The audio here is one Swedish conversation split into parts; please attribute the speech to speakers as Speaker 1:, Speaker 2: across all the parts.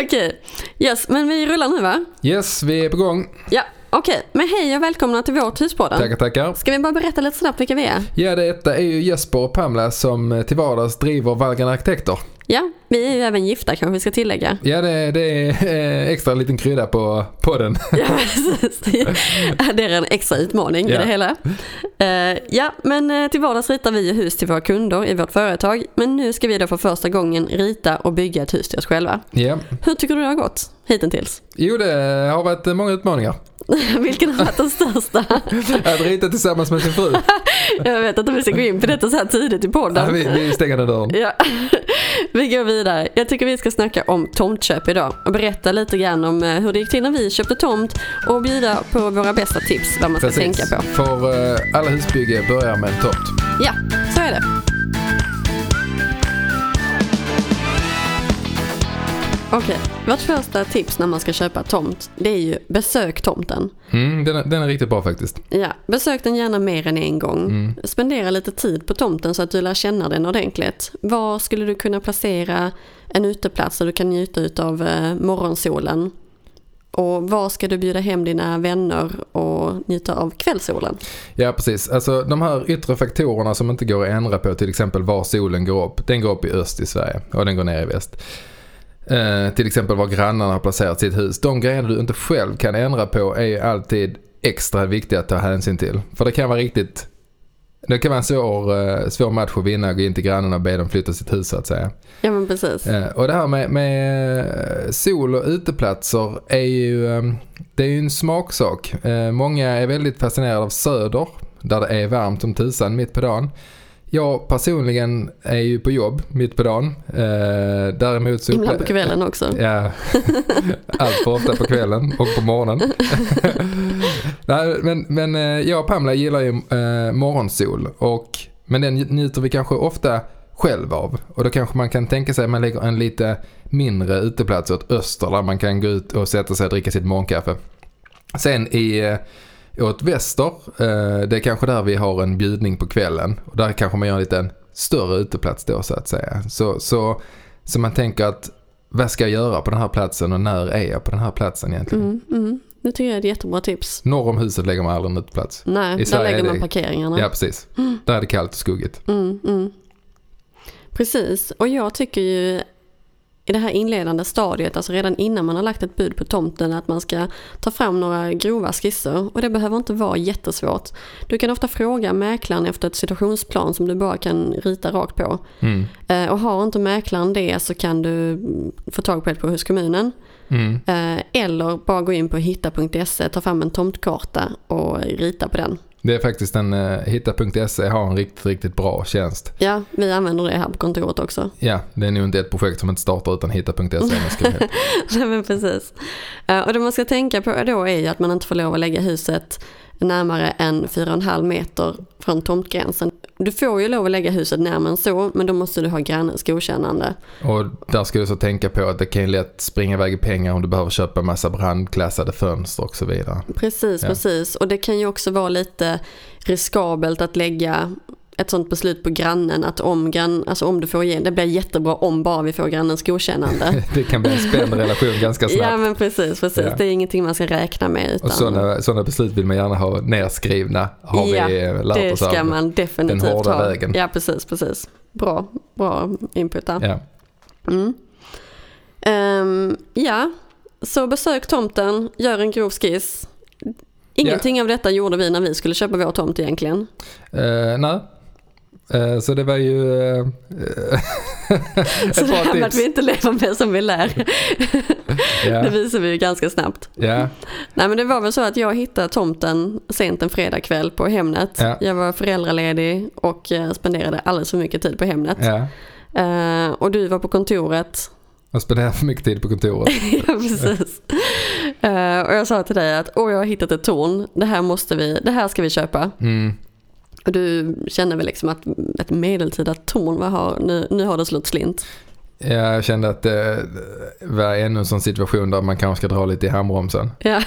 Speaker 1: Okej, yes, men vi rullar nu va?
Speaker 2: Yes, vi är på gång.
Speaker 1: Ja, okej. Men hej och välkomna till vår Tyspodden.
Speaker 2: Tackar, tackar.
Speaker 1: Ska vi bara berätta lite snabbt vilka vi är?
Speaker 2: Ja, detta är ju Jesper och Pamela som eh, till vardags driver Valgan Arkitekter.
Speaker 1: Ja, vi är ju även gifta kanske vi ska tillägga.
Speaker 2: Ja, det, det är eh, extra liten krydda på podden.
Speaker 1: Ja, precis. Det är en extra utmaning i
Speaker 2: Ja.
Speaker 1: det hela. Eh, ja, men eh, till vardags ritar vi ju hus till våra kunder i vårt företag. Men nu ska vi då för första gången rita och bygga ett hus till oss själva.
Speaker 2: Ja.
Speaker 1: Hur tycker du det har gått hittills?
Speaker 2: Jo, det har varit eh, många utmaningar.
Speaker 1: Vilken har varit den största?
Speaker 2: Att rita tillsammans med sin fru.
Speaker 1: Jag vet inte om vi ska gå in på detta så här tidigt i
Speaker 2: Ja,
Speaker 1: podden.
Speaker 2: vi, vi stänger den dörren.
Speaker 1: Ja. Vi går vidare. Jag tycker vi ska snacka om tomtköp idag och berätta lite grann om eh, hur det gick till när vi köpte tomt och bjuda på våra bästa tips vad man ska tänka på.
Speaker 2: För eh, alla husbygge börjar med en tomt.
Speaker 1: Ja, så är det. Okej, vårt första tips när man ska köpa tomt det är ju besök tomten.
Speaker 2: Mm, den, är, den är riktigt bra faktiskt.
Speaker 1: Ja, besök den gärna mer än en gång.
Speaker 2: Mm.
Speaker 1: Spendera lite tid på tomten så att du lär känna den ordentligt. Var skulle du kunna placera en uteplats där du kan njuta av morgonsolen? Och var ska du bjuda hem dina vänner och njuta av kvällssolen?
Speaker 2: Ja, precis. Alltså de här yttre faktorerna som inte går att ändra på, till exempel var solen går upp. Den går upp i öst i Sverige och den går ner i väst. Eh, till exempel var grannarna har placerat sitt hus. De grejerna du inte själv kan ändra på är ju alltid extra viktiga att ta hänsyn till. För det kan vara riktigt... Det kan vara en svår, eh, svår match att vinna, gå in till grannen och be dem flytta sitt hus så att säga.
Speaker 1: Ja men precis.
Speaker 2: Eh, Och det här med, med eh, sol och uteplatser är ju, eh, det är ju en smaksak. Eh, Många är väldigt fascinerade av söder, där det är varmt som tusan mitt på dagen. Jag personligen är ju på jobb mitt på dagen. Eh, Däremot så...
Speaker 1: Ibland på kvällen också.
Speaker 2: Ja, allt för ofta på kvällen och på morgonen. Nej, men, men eh, jag och Pamela gillar ju eh, morgonsol. Och, men den njuter vi kanske ofta själv av. Och då kanske man kan tänka sig att man lägger en lite mindre uteplats åt öster där man kan gå ut och sätta sig och dricka sitt morgonkaffe. Sen i eh, åt väster, eh, det är kanske där vi har en bjudning på kvällen. Och där kanske man gör en liten större uteplats då så att säga. Så, så, så man tänker att vad ska jag göra på den här platsen och när är jag på den här platsen egentligen?
Speaker 1: Mm, mm. Det tycker jag är ett jättebra tips.
Speaker 2: Norr om huset lägger man aldrig en uteplats.
Speaker 1: Nej, där
Speaker 2: Sverige är
Speaker 1: lägger man
Speaker 2: det-
Speaker 1: parkeringarna.
Speaker 2: Ja, precis. Där är det kallt och skuggigt.
Speaker 1: Mm, mm. Precis, och jag tycker ju i det här inledande stadiet, alltså redan innan man har lagt ett bud på tomten, att man ska ta fram några grova skisser. Och det behöver inte vara jättesvårt. Du kan ofta fråga mäklaren efter ett situationsplan som du bara kan rita rakt på.
Speaker 2: Mm.
Speaker 1: Eh, Och har inte mäklaren det så kan du mm, få tag på hjälp hos kommunen.
Speaker 2: Mm.
Speaker 1: Eh, Eller bara gå in på hitta.se, E, ta fram en tomtkarta och rita på den.
Speaker 2: Det är faktiskt en, eh, hitta.se har en riktigt, riktigt bra tjänst.
Speaker 1: Ja, vi använder det här på kontoret också.
Speaker 2: Ja, det är nog inte ett projekt som inte startar utan hitta.se. E om jag ska vara helt-
Speaker 1: Nej men precis. Eh, Och det man ska tänka på då är ju att man inte får lov att lägga huset närmare än 4,5 meter från tomtgränsen. Du får ju lov att lägga huset närmare än så, men då måste du ha grannens godkännande.
Speaker 2: Och där ska du så tänka på att det kan ju lätt springa iväg i pengar om du behöver köpa en massa brandklassade fönster och så vidare.
Speaker 1: Precis,
Speaker 2: Ja.
Speaker 1: precis. Och det kan ju också vara lite riskabelt att lägga ett sånt beslut på grannen att om, grann, alltså om du får igen, det blir jättebra om bara vi får grannens godkännande.
Speaker 2: Det kan bli en spänd relation ganska snabbt.
Speaker 1: ja men precis, precis.
Speaker 2: Ja.
Speaker 1: Det är ingenting man ska räkna med. Utan
Speaker 2: Och sådana, sådana beslut vill man gärna ha nedskrivna. Har
Speaker 1: Ja,
Speaker 2: vi eh, lärt
Speaker 1: Det
Speaker 2: oss av.
Speaker 1: ska man definitivt
Speaker 2: den hårda
Speaker 1: ha.
Speaker 2: vägen.
Speaker 1: Ja, precis, precis. Bra, bra input där.
Speaker 2: Ja.
Speaker 1: Mm. Ehm, ja, så besök tomten, gör en grov skiss. Ingenting av detta gjorde vi när vi skulle köpa vår tomt egentligen.
Speaker 2: Eh, nej. Eh, så det var ju eh, ett
Speaker 1: Så det
Speaker 2: bra
Speaker 1: här med att
Speaker 2: tips.
Speaker 1: vi inte lever med som vi lär, det
Speaker 2: Ja,
Speaker 1: visar vi ju ganska snabbt.
Speaker 2: ja,
Speaker 1: Nej men det var väl så att jag hittade tomten sent en fredagkväll på Hemnet.
Speaker 2: Ja.
Speaker 1: Jag var föräldraledig och eh, spenderade alldeles för mycket tid på Hemnet.
Speaker 2: ja.
Speaker 1: Eh, och du var på kontoret
Speaker 2: Jag spenderar för mycket tid på kontoret.
Speaker 1: Ja, precis. Eh, och jag sa till dig att åh, jag har hittat ett torn. Det här måste vi, det här ska vi köpa.
Speaker 2: Mm.
Speaker 1: Och du känner väl liksom att ett medeltida torn, vad har, nu, nu har det slått slint.
Speaker 2: Jag kände att det var ännu en sån situation där man kanske ska dra lite i handbromsen.
Speaker 1: Ja,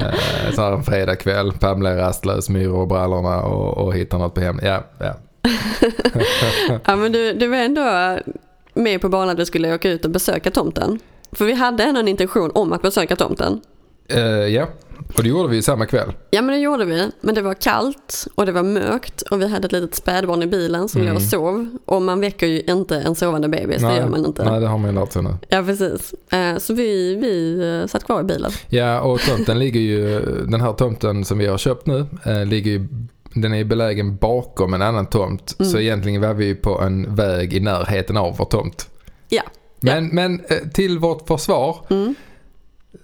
Speaker 2: Eh, så här en fredagkväll, Pamela är rastlös, myror och brallorna och, och hittar något på hem. Ja, ja.
Speaker 1: ja men du, du var ändå med på banan att vi skulle åka ut och besöka tomten. För vi hade ändå en intention om att besöka tomten.
Speaker 2: Eh, ja, och det gjorde vi ju samma kväll.
Speaker 1: Ja men det gjorde vi. Men det var kallt och det var mörkt och vi hade ett litet spädbarn i bilen som låg och sov. Och man väcker ju inte en sovande bebis, det gör man inte.
Speaker 2: Mm. nej, det har man ju lärt sig nu.
Speaker 1: Ja precis. Eh, Så vi, vi eh, satt kvar i bilen.
Speaker 2: Ja, och tomten ligger ju, den här tomten som vi har köpt nu, eh, ligger ju, den är ju belägen bakom en annan tomt. Så
Speaker 1: Mm.
Speaker 2: egentligen var vi ju på en väg i närheten av vår tomt.
Speaker 1: Ja.
Speaker 2: Men, men eh, till vårt försvar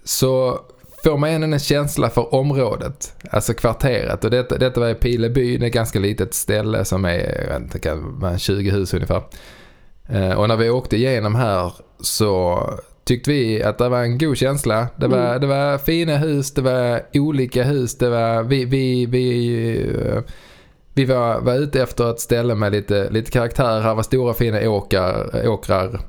Speaker 2: så får man ändå en känsla för området, alltså kvarteret. Och detta, detta var i Pileby, det är ett ganska litet ställe som är jag vet inte, kan vara 20 hus ungefär. Eh, Och när vi åkte igenom här så tyckte vi att det var en god känsla. Det var, det var fina hus, det var olika hus, det var, vi, vi, vi, eh, vi var, var ute efter ett ställe med lite, lite karaktär. Här var stora fina åkar, åkrar,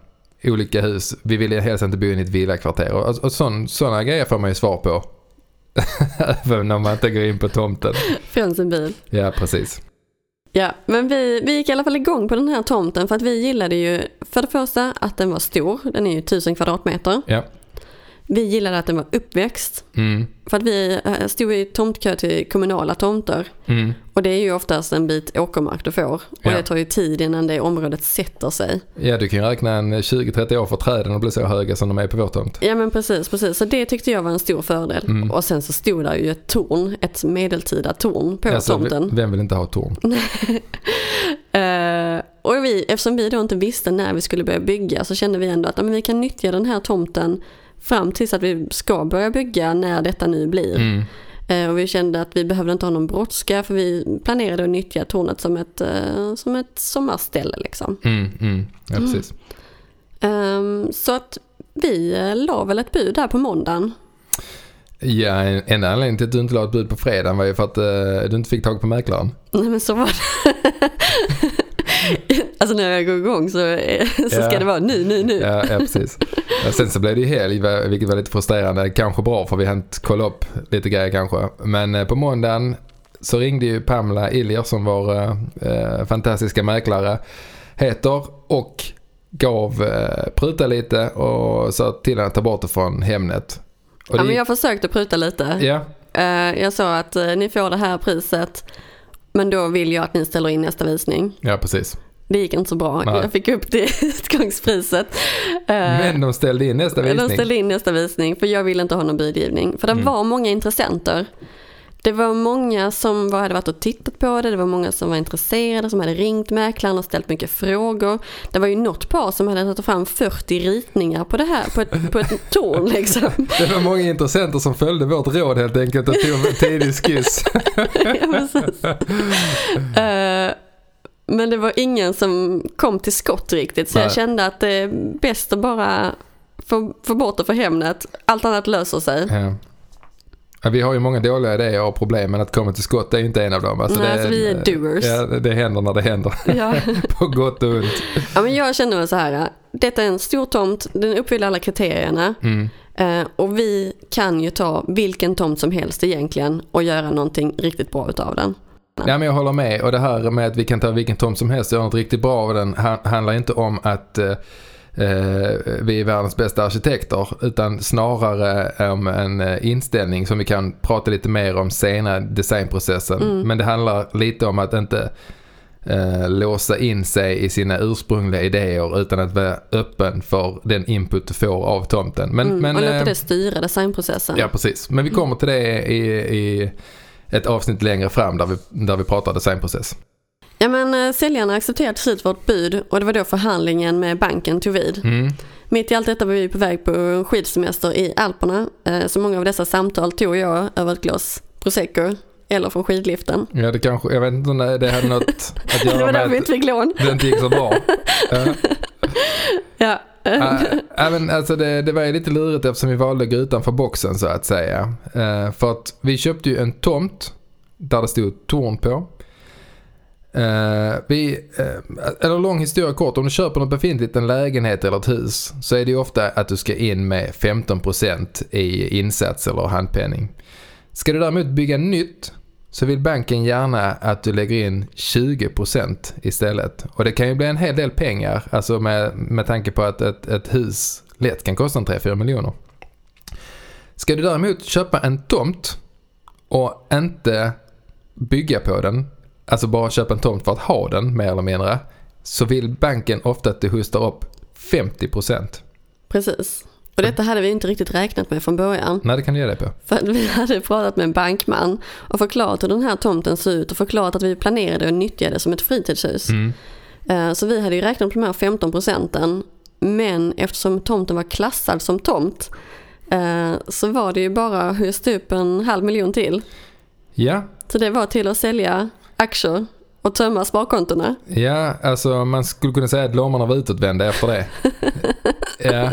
Speaker 2: olika hus. Vi ville helst inte bo in i ett villakvarter. Och, och sådana grejer får man ju svar på. Även om man inte går in på tomten.
Speaker 1: Från sin bil.
Speaker 2: Ja, precis.
Speaker 1: Ja, men vi, vi gick i alla fall igång på den här tomten för att vi gillade ju för det första att den var stor, den är ju 1000 kvadratmeter.
Speaker 2: Ja.
Speaker 1: Vi gillade att den var uppväxt
Speaker 2: Mm.
Speaker 1: för att vi eh, stod i tomtkö till kommunala tomter
Speaker 2: Mm.
Speaker 1: och det är ju oftast en bit åkermark du får och
Speaker 2: Ja.
Speaker 1: det tar ju tid innan det området sätter sig.
Speaker 2: Ja, du kan ju räkna en 20-30 år för träden att bli så höga som de är på vår tomt.
Speaker 1: Ja men precis, precis. Så det tyckte jag var en stor fördel.
Speaker 2: Mm.
Speaker 1: Och sen så stod där ju ett torn, ett medeltida torn på
Speaker 2: Alltså,
Speaker 1: tomten.
Speaker 2: v- Vem vill inte ha torn?
Speaker 1: Eh, och vi, eftersom vi då inte visste när vi skulle börja bygga så kände vi ändå att ja, men vi kan nyttja den här tomten fram tills att vi ska börja bygga när detta nu blir.
Speaker 2: Mm.
Speaker 1: Eh, och vi kände att vi behövde inte ha någon brådska för vi planerade att nyttja tornet som ett, eh, som ett sommarställe. Liksom.
Speaker 2: Mm, mm. Ja, precis.
Speaker 1: Ehm, så att vi eh, la väl ett bud där på måndagen. Mm.
Speaker 2: Ja, en, en anledning till att du inte la ett bud på fredagen var ju för att eh, du inte fick tag på mäklaren.
Speaker 1: Nej men så var det. alltså när jag går igång så, eh, så ska
Speaker 2: Mm. Ja.
Speaker 1: det vara nu, nu, nu.
Speaker 2: Ja, ja precis. Ja, sen så blev det ju helg, va- vilket var lite frustrerande. Kanske bra, för vi hann inte kolla upp lite grejer kanske. Men eh, på måndagen så ringde ju Pamela Iljer, som vår eh, eh, fantastiska mäklare heter, och gav eh, pruta lite och sa till henne att ta bort det från Hemnet. Och
Speaker 1: Ja,
Speaker 2: det
Speaker 1: men
Speaker 2: gick-
Speaker 1: jag försökte pruta lite.
Speaker 2: ja,
Speaker 1: Eh, jag sa att eh, ni får det här priset men då vill jag att ni ställer in nästa visning.
Speaker 2: ja, precis.
Speaker 1: Det gick inte så bra.
Speaker 2: Nej.
Speaker 1: Jag fick upp det utgångspriset. Eh,
Speaker 2: Men de ställde in nästa
Speaker 1: men de
Speaker 2: visning. Mm.
Speaker 1: ställde in nästa visning för jag ville inte ha någon budgivning. För det var många intressenter. Det var många som var, hade varit och tittat på det. Det var många som var intresserade, som hade ringt mäklaren och ställt mycket frågor. Det var ju något par som hade tagit fram 40 ritningar på det här, på ett, på ett torn liksom.
Speaker 2: Det var många intressenter som följde vårt råd helt enkelt och tog en tidig skiss.
Speaker 1: ja, precis. Eh, men det var ingen som kom till skott riktigt. Så jag
Speaker 2: Nej.
Speaker 1: kände att det är bäst att bara få, få bort det för Hemnet. Allt annat löser sig.
Speaker 2: Ja. Eh, Ja, Vi har ju många dåliga idéer och problem men att komma till skott är ju inte en av dem.
Speaker 1: Nej,
Speaker 2: det,
Speaker 1: alltså vi är doers.
Speaker 2: Ja, det händer när det händer.
Speaker 1: Ja.
Speaker 2: På gott och ont.
Speaker 1: ja, men jag kände mig så här. Detta är en stor tomt. Den uppfyller alla kriterierna.
Speaker 2: Mm.
Speaker 1: Eh, och vi kan ju ta vilken tomt som helst egentligen och göra någonting riktigt bra utav den.
Speaker 2: Ja, men jag håller med och det här med att vi kan ta vilken tomt som helst och göra något riktigt bra av den ha- handlar inte om att eh, eh, vi är världens bästa arkitekter utan snarare om en eh, inställning som vi kan prata lite mer om senare i designprocessen.
Speaker 1: Mm.
Speaker 2: Men det handlar lite om att inte eh, låsa in sig i sina ursprungliga idéer utan att vara öppen för den input du får av tomten. Men,
Speaker 1: Mm.
Speaker 2: men,
Speaker 1: och låta
Speaker 2: eh,
Speaker 1: det styra designprocessen.
Speaker 2: Ja, precis. Men vi kommer till det i, i ett avsnitt längre fram där vi, där vi pratar designprocess.
Speaker 1: Ja men eh, säljarna accepterade till slut vårt bud och det var då förhandlingen med banken tog vid.
Speaker 2: Mm.
Speaker 1: Mitt i allt detta var vi på väg på skidsemester i Alperna. eh, Så många av dessa samtal tog jag över ett glas prosecco eller från skidliften.
Speaker 2: Ja, det kanske, jag vet inte om det det hade något att
Speaker 1: Det
Speaker 2: göra
Speaker 1: var därför vi
Speaker 2: med
Speaker 1: inte fick lån.
Speaker 2: att det inte gick så bra. Ja.
Speaker 1: Ja.
Speaker 2: Äh, även, alltså det, det var ju lite lurigt eftersom vi valde att gå utanför boxen så att säga. Eh, för att vi köpte ju en tomt där det stod torn på. Eh, vi, eh, eller lång historia kort, om du köper något befintligt, en lägenhet eller ett hus så är det ju ofta att du ska in med 15% i insats eller handpenning. Ska du däremot bygga nytt så vill banken gärna att du lägger in 20% istället. Och det kan ju bli en hel del pengar, alltså med, med tanke på att ett, ett hus lätt kan kosta en 3-4 miljoner. Ska du däremot köpa en tomt och inte bygga på den, alltså bara köpa en tomt för att ha den mer eller mindre, så vill banken ofta att du hostar upp 50%.
Speaker 1: Precis. Och detta hade vi inte riktigt räknat med från början.
Speaker 2: Nej, det kan du ge dig på.
Speaker 1: För att vi hade pratat med en bankman och förklarat hur den här tomten ser ut och förklarat att vi planerade och nyttjade det som ett fritidshus.
Speaker 2: Mm.
Speaker 1: Eh, Så vi hade ju räknat på de här 15 procenten. Men eftersom tomten var klassad som tomt eh, så var det ju bara att hosta upp en halv miljon till.
Speaker 2: Ja,
Speaker 1: Så det var till att sälja aktier och tömma sparkontona.
Speaker 2: Ja, alltså man skulle kunna säga att lommarna var utåtvända efter det. ja.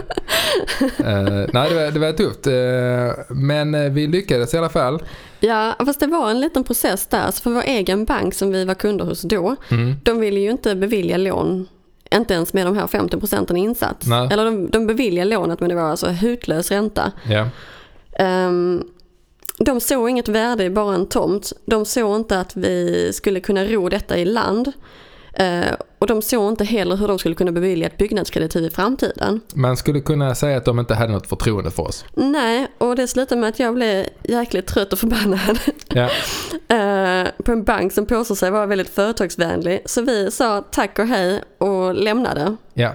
Speaker 2: Eh, nej, det var, det var tufft. Eh, men eh, vi lyckades i alla fall.
Speaker 1: Ja, fast det var en liten process där. Så för vår egen bank som vi var kunder hos då,
Speaker 2: Mm.
Speaker 1: de ville ju inte bevilja lån. Inte ens med de här 50 procenten insats.
Speaker 2: Nej.
Speaker 1: Eller de, de beviljade lånet men det var alltså hutlös ränta.
Speaker 2: Ja.
Speaker 1: Ehm, de såg inget värde i bara en tomt. De såg inte att vi skulle kunna ro detta i land. Eh, och de såg inte heller hur de skulle kunna bevilja ett byggnadskreditiv i framtiden.
Speaker 2: Man skulle kunna säga att de inte hade något förtroende för oss.
Speaker 1: Nej, och det slutade med att jag blev jäkligt trött och förbannad
Speaker 2: Ja,
Speaker 1: eh, på en bank som påstår sig vara väldigt företagsvänlig. Så vi sa tack och hej och lämnade.
Speaker 2: ja.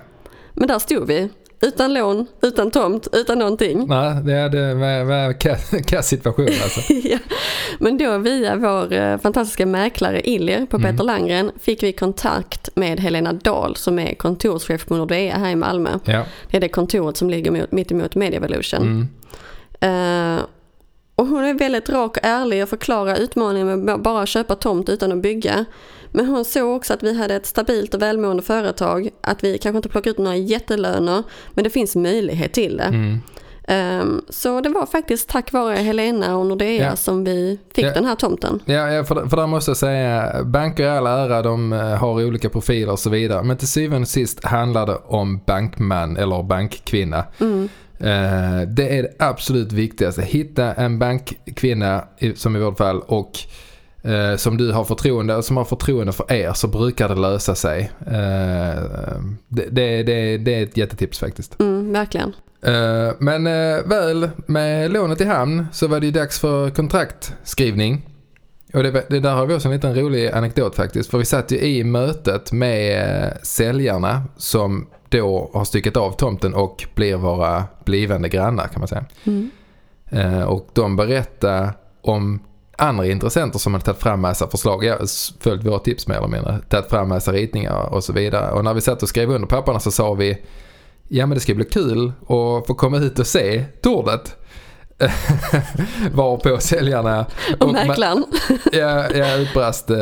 Speaker 1: Men där stod vi. Utan lån, utan tomt, utan någonting.
Speaker 2: Nej, det hade- var, var en kass, kass situation alltså.
Speaker 1: ja. Men då via vår eh, fantastiska mäklare Illir på
Speaker 2: Mm.
Speaker 1: Peter Langren fick vi kontakt med Helena Dahl som är kontorschef på Nordea här i Malmö.
Speaker 2: Ja.
Speaker 1: Det är det kontoret som ligger mot, mitt emot Media Evolution.
Speaker 2: Mm.
Speaker 1: Eh, och hon är väldigt rak och ärlig och förklarar utmaningen med ba- bara att köpa tomt utan att bygga. Men hon såg också att vi hade ett stabilt och välmående företag. Att vi kanske inte plockar ut några jättelöner men det finns möjlighet till det.
Speaker 2: Mm.
Speaker 1: Ehm, Så det var faktiskt tack vare Helena och Nordea
Speaker 2: Ja.
Speaker 1: som vi fick
Speaker 2: Ja.
Speaker 1: den här tomten.
Speaker 2: Ja, ja för, för där måste jag säga, banker i all ära, de eh, har olika profiler och så vidare. Men till syvende och sist handlar det om bankman eller bankkvinna. Eh, det är det absolut viktigaste. Hitta en bankkvinna, i- som i vårt fall, och eh, som du har förtroende och som har förtroende för er så brukar det lösa sig. Eh, det, det, det, det är ett jättetips faktiskt.
Speaker 1: Mm, verkligen.
Speaker 2: Eh, Men eh, väl med lånet i hamn så var det ju dags för kontraktskrivning. Och det, var- det där har vi också en liten rolig anekdot faktiskt. För vi satt ju i mötet med eh, säljarna som då har styckat av tomten och blir våra blivande grannar kan man säga.
Speaker 1: Mm.
Speaker 2: Eh, Och de berättade om andra intressenter som hade tagit fram massa förslag. Jag har s- följt våra tips mer eller mindre. Tagit fram massa ritningar och så vidare. Och när vi satt och skrev under papperna så sa vi Ja men det ska bli kul att få komma hit och se tornet. Varpå säljarna
Speaker 1: Och,
Speaker 2: ma-
Speaker 1: mäklaren.
Speaker 2: ja, ja, utbrast eh,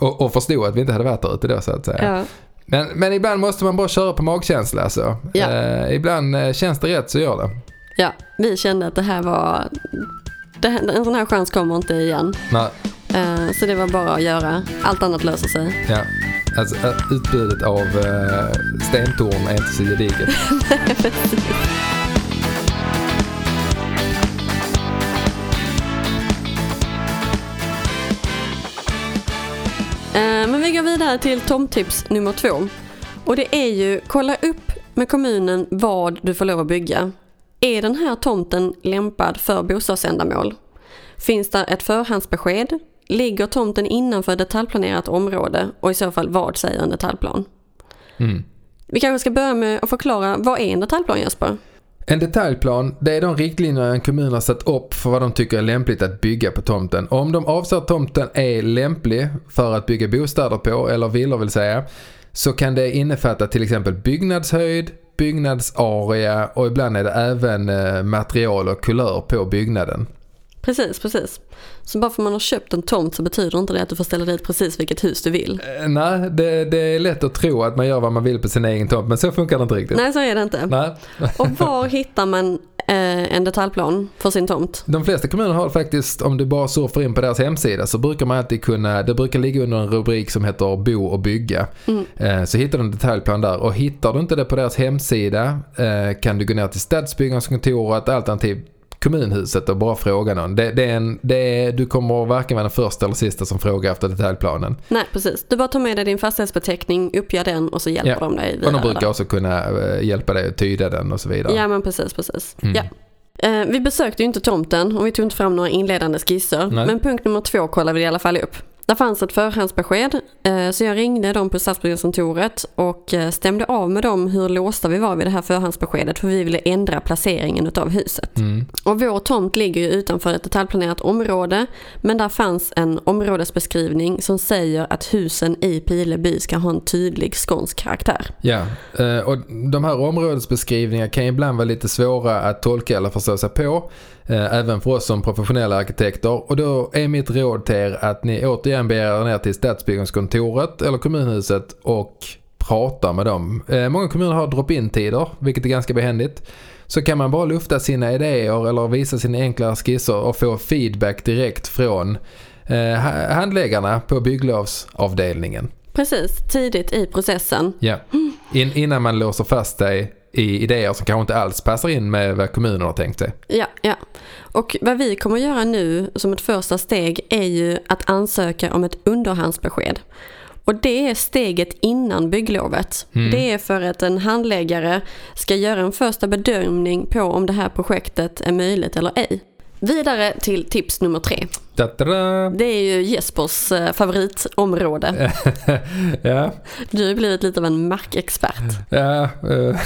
Speaker 2: och, och förstod att vi inte hade varit där ute då så att säga.
Speaker 1: Ja.
Speaker 2: Men, men ibland måste man bara köra på magkänsla alltså.
Speaker 1: Ja.
Speaker 2: Eh, ibland eh, känns det rätt så gör det.
Speaker 1: ja, vi kände att det här var... Det, här- en sån här chans kommer inte igen.
Speaker 2: Nej,
Speaker 1: Ehm, Så det var bara att göra. Allt annat löser sig.
Speaker 2: ja. Alltså, eh, utbudet av eh, stentorn är inte så gediget.
Speaker 1: Ehm, Men vi går vidare till tomtips nummer två. Och det är ju, kolla upp med kommunen vad du får lov att bygga. Är den här tomten lämpad för bostadsändamål? Finns där ett förhandsbesked? Ligger tomten innanför detaljplanerat område? Och i så fall, vad säger en detaljplan?
Speaker 2: Mm.
Speaker 1: Vi kanske ska börja med att förklara, vad är en detaljplan Jesper?
Speaker 2: En detaljplan, det är de riktlinjer en kommun har satt upp för vad de tycker är lämpligt att bygga på tomten. Om de avser att tomten är lämplig för att bygga bostäder på, eller villor vill säga, så kan det innefatta till exempel byggnadshöjd, byggnadsarea och ibland är det även eh, material och kulör på byggnaden.
Speaker 1: Precis, precis. Så bara för man har köpt en tomt så betyder inte det att du får ställa dit precis vilket hus du vill.
Speaker 2: Eh, nej, det, det är lätt att tro att man gör vad man vill på sin egen tomt, men så funkar det inte riktigt.
Speaker 1: Nej, så är det inte.
Speaker 2: nej.
Speaker 1: Och var hittar man eh, en detaljplan för sin tomt?
Speaker 2: De flesta kommuner har faktiskt, om du bara surfar in på deras hemsida så brukar man alltid kunna, det brukar ligga under en rubrik som heter bo och bygga. Eh, Så hittar du en detaljplan där och hittar du inte det på deras hemsida eh, kan du gå ner till stadsbyggnadskontoret alternativt kommunhuset och bara fråga någon. Det, det är en, det är, du kommer varken vara den första eller sista som frågar efter detaljplanen.
Speaker 1: Nej, precis. Du bara tar med dig din fastighetsbeteckning, uppgör den och så hjälper
Speaker 2: Ja,
Speaker 1: de dig vidare.
Speaker 2: Och de brukar
Speaker 1: där.
Speaker 2: också kunna eh, hjälpa dig att tyda den och så vidare.
Speaker 1: Ja, men precis, precis.
Speaker 2: Mm.
Speaker 1: Ja. Eh, vi besökte ju inte tomten och vi tog inte fram några inledande skisser.
Speaker 2: Nej.
Speaker 1: Men punkt nummer två kollade vi i alla fall upp. Där fanns ett förhandsbesked eh, så jag ringde dem på Stadsbyggnadskontoret och eh, stämde av med dem hur låsta vi var vid det här förhandsbeskedet för vi ville ändra placeringen av huset.
Speaker 2: Mm.
Speaker 1: Och vår tomt ligger ju utanför ett detaljplanerat område men där fanns en områdesbeskrivning som säger att husen i Pileby ska ha en tydlig skånsk karaktär.
Speaker 2: Ja, eh, och de här områdesbeskrivningarna kan ibland vara lite svåra att tolka eller förstå sig på. eh, Även för oss som professionella arkitekter. Och då är mitt råd till er att ni återigen beger er ner till Stadsbyggnadskontoret eller kommunhuset och pratar med dem. Eh, Många kommuner har drop-in tider, vilket är ganska behändigt. Så kan man bara lufta sina idéer eller visa sina enklare skisser och få feedback direkt från eh, ha- handläggarna på bygglovsavdelningen.
Speaker 1: Precis, tidigt i processen
Speaker 2: Ja, In, innan man låser fast sig i idéer som kanske inte alls passar in med vad kommunen har tänkt sig.
Speaker 1: Ja, ja. Och vad vi kommer göra nu som ett första steg är ju att ansöka om ett underhandsbesked. Och det är steget innan bygglovet. Det är för att en handläggare ska göra en första bedömning på om det här projektet är möjligt eller ej. Vidare till tips nummer tre.
Speaker 2: Da-da-da.
Speaker 1: Det är ju Jespers eh, favoritområde.
Speaker 2: ja,
Speaker 1: Du har ju blivit lite av en markexpert.
Speaker 2: ja, eh,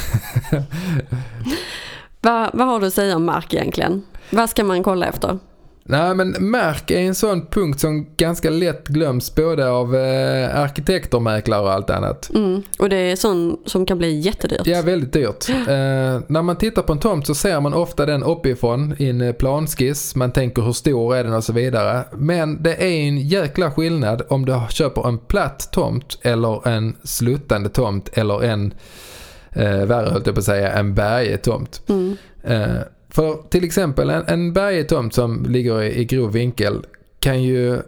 Speaker 1: Vad, vad har du att säga om mark egentligen? Vad ska man kolla efter?
Speaker 2: Nej men märk är en sån punkt som ganska lätt glöms både av eh, arkitekter, mäklare och allt annat.
Speaker 1: Mm. Och det är sånt som kan bli jättedyrt.
Speaker 2: Ja, väldigt dyrt. Eh, när man tittar på en tomt så ser man ofta den uppifrån i en eh, planskiss. Man tänker hur stor är den och så vidare. Men det är en jäkla skillnad om du köper en platt tomt eller en sluttande tomt eller en, eh, värre höll jag på att säga, en bergig tomt.
Speaker 1: Mm.
Speaker 2: Eh, för till exempel en, en bergig tomt som ligger i, i grov vinkel kan ju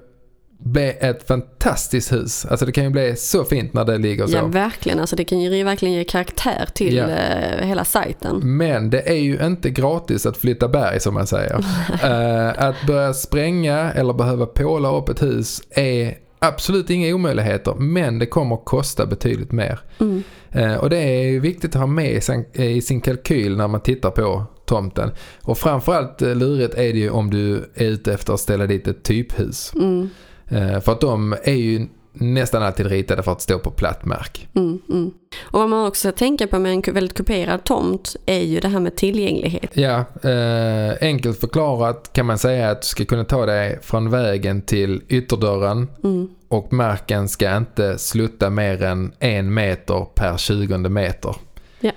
Speaker 2: bli ett fantastiskt hus. Alltså det kan ju bli så fint när det ligger så.
Speaker 1: Ja, verkligen. Alltså, det kan ju verkligen ge karaktär till
Speaker 2: Ja.
Speaker 1: eh, hela sajten.
Speaker 2: Men det är ju inte gratis att flytta berg som man säger. Eh, att börja spränga eller behöva påla upp ett hus är absolut inga omöjligheter men det kommer att kosta betydligt mer.
Speaker 1: Mm.
Speaker 2: Eh, och det är ju viktigt att ha med i sin, i sin kalkyl när man tittar på tomten. Och framförallt eh, lurigt är det ju om du är ute efter att ställa dit ett typhus.
Speaker 1: Mm,
Speaker 2: Eh, för att de är ju nästan alltid ritade för att stå på platt mark.
Speaker 1: mm, mm. Och vad man också ska tänka på med en ku- väldigt kuperad tomt är ju det här med tillgänglighet.
Speaker 2: Ja, eh, enkelt förklarat kan man säga att du ska kunna ta dig från vägen till ytterdörren
Speaker 1: Mm.
Speaker 2: och marken ska inte slutta mer än en meter per 20 meter.
Speaker 1: Ja.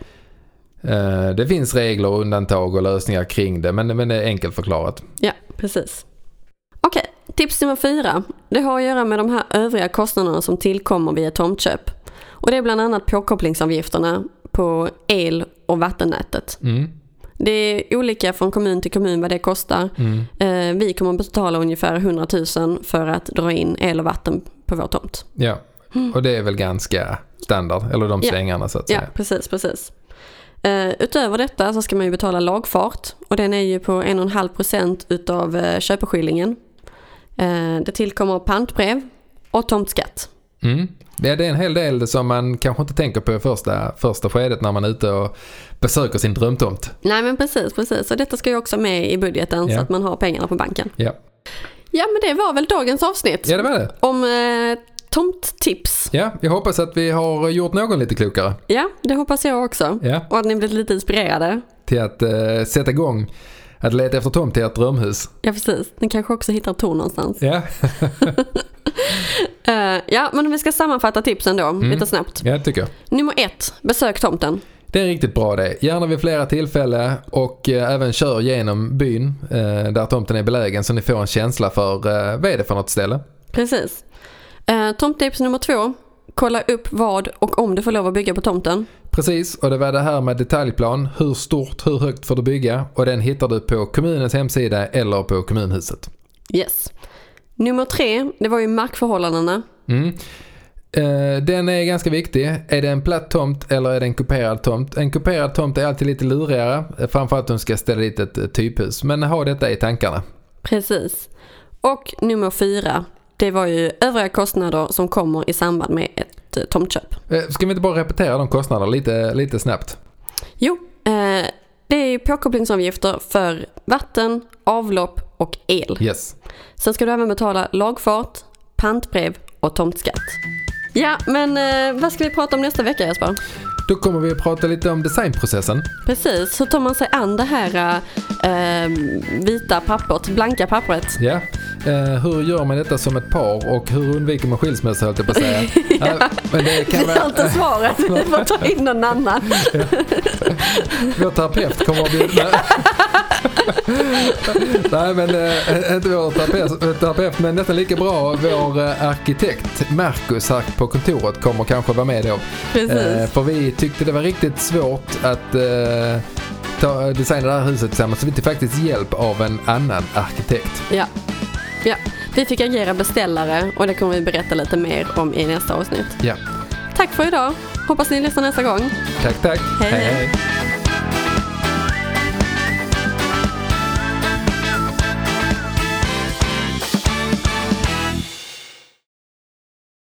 Speaker 2: Eh, det finns regler, undantag och lösningar kring det men, men det är enkelt förklarat.
Speaker 1: Ja, precis. Okej, tips nummer fyra. Det har att göra med de här övriga kostnaderna som tillkommer vid ett tomtköp. Och det är bland annat påkopplingsavgifterna på el och vattennätet.
Speaker 2: Mm,
Speaker 1: Det är olika från kommun till kommun vad det kostar.
Speaker 2: mm,
Speaker 1: Eh, Vi kommer att betala ungefär 100 000 för att dra in el och vatten på vår tomt.
Speaker 2: ja. Och det är väl ganska standard, eller de
Speaker 1: Mm. Ja.
Speaker 2: svängarna så att
Speaker 1: Ja,
Speaker 2: säga.
Speaker 1: precis, precis. Eh, utöver detta så ska man ju betala lagfart och den är ju på 1,5 procent utav uh, köpeskillingen. Eh, det tillkommer pantbrev och tomtskatt.
Speaker 2: Mm. Ja, det är en hel del som man kanske inte tänker på i första, första skedet när man är ute och besöker sin drömtomt.
Speaker 1: Nej men precis, precis. Och detta ska ju också med i budgeten så
Speaker 2: Ja.
Speaker 1: att man har pengarna på banken.
Speaker 2: Ja.
Speaker 1: Ja men det var väl dagens avsnitt
Speaker 2: ja, det var det.
Speaker 1: om eh, tomttips.
Speaker 2: Ja, jag hoppas att vi har gjort någon lite klokare.
Speaker 1: Ja, det hoppas jag också.
Speaker 2: Ja,
Speaker 1: Och att ni blivit lite inspirerade.
Speaker 2: till att eh, sätta igång att leta efter tomt till ert drömhus.
Speaker 1: Ja precis, ni kanske också hittar ton någonstans.
Speaker 2: Ja,
Speaker 1: Eh, ja men om vi ska sammanfatta tipsen då
Speaker 2: Mm.
Speaker 1: lite snabbt.
Speaker 2: ja det tycker jag.
Speaker 1: Nummer ett, besök tomten.
Speaker 2: Det är en riktigt bra det. Gärna vid flera tillfällen och eh, även kör genom byn eh, där tomten är belägen så ni får en känsla för eh, vad är det för något ställe.
Speaker 1: Precis. Eh, tomttips nummer två. Kolla upp vad och om du får lov att bygga på tomten.
Speaker 2: Precis, och det var det här med detaljplan. Hur stort, hur högt får du bygga? Och den hittar du på kommunens hemsida eller på kommunhuset.
Speaker 1: Yes. Nummer tre, det var ju markförhållandena.
Speaker 2: Mm. Eh, den är ganska viktig. Är det en platt tomt eller är det en kuperad tomt? En kuperad tomt är alltid lite lurigare. eh, Framförallt om du ska ställa dit ett eh, typhus. Men ha detta i tankarna.
Speaker 1: Precis. Och nummer fyra, det var ju övriga kostnader som kommer i samband med ett eh, tomtköp.
Speaker 2: Eh, Ska vi inte bara repetera de kostnaderna lite, lite snabbt?
Speaker 1: Jo, eh, det är ju påkopplingsavgifter för vatten, avlopp och el.
Speaker 2: Yes.
Speaker 1: Sen ska du även betala lagfart, pantbrev och tomtskatt. Ja, men eh, vad ska vi prata om nästa vecka Jesper?
Speaker 2: Då kommer vi att prata lite om designprocessen.
Speaker 1: Precis, hur tar man sig an det här eh, vita pappret, blanka pappret?
Speaker 2: Ja. Eh, hur gör man detta som ett par och hur undviker man skilsmässa höll jag på att säga. Eh, men det
Speaker 1: Vi
Speaker 2: kan
Speaker 1: har
Speaker 2: vara,
Speaker 1: inte svaret, vi får ta in någon annan.
Speaker 2: vår terapeut kommer att bjuda... Nej men eh, inte vår terapeut, terapeut men nästan lika bra vår eh, arkitekt Marcus här på kontoret kommer kanske vara med då. Eh,
Speaker 1: Precis.
Speaker 2: för vi tyckte det var riktigt svårt att eh, ta, designa det här huset tillsammans så vi fick faktiskt hjälp av en annan arkitekt.
Speaker 1: Ja. ja. Vi fick agera beställare och det kommer vi berätta lite mer om i nästa avsnitt.
Speaker 2: Ja,
Speaker 1: Tack för idag. Hoppas ni lyssnar nästa gång.
Speaker 2: tack tack.
Speaker 1: Hej, hej.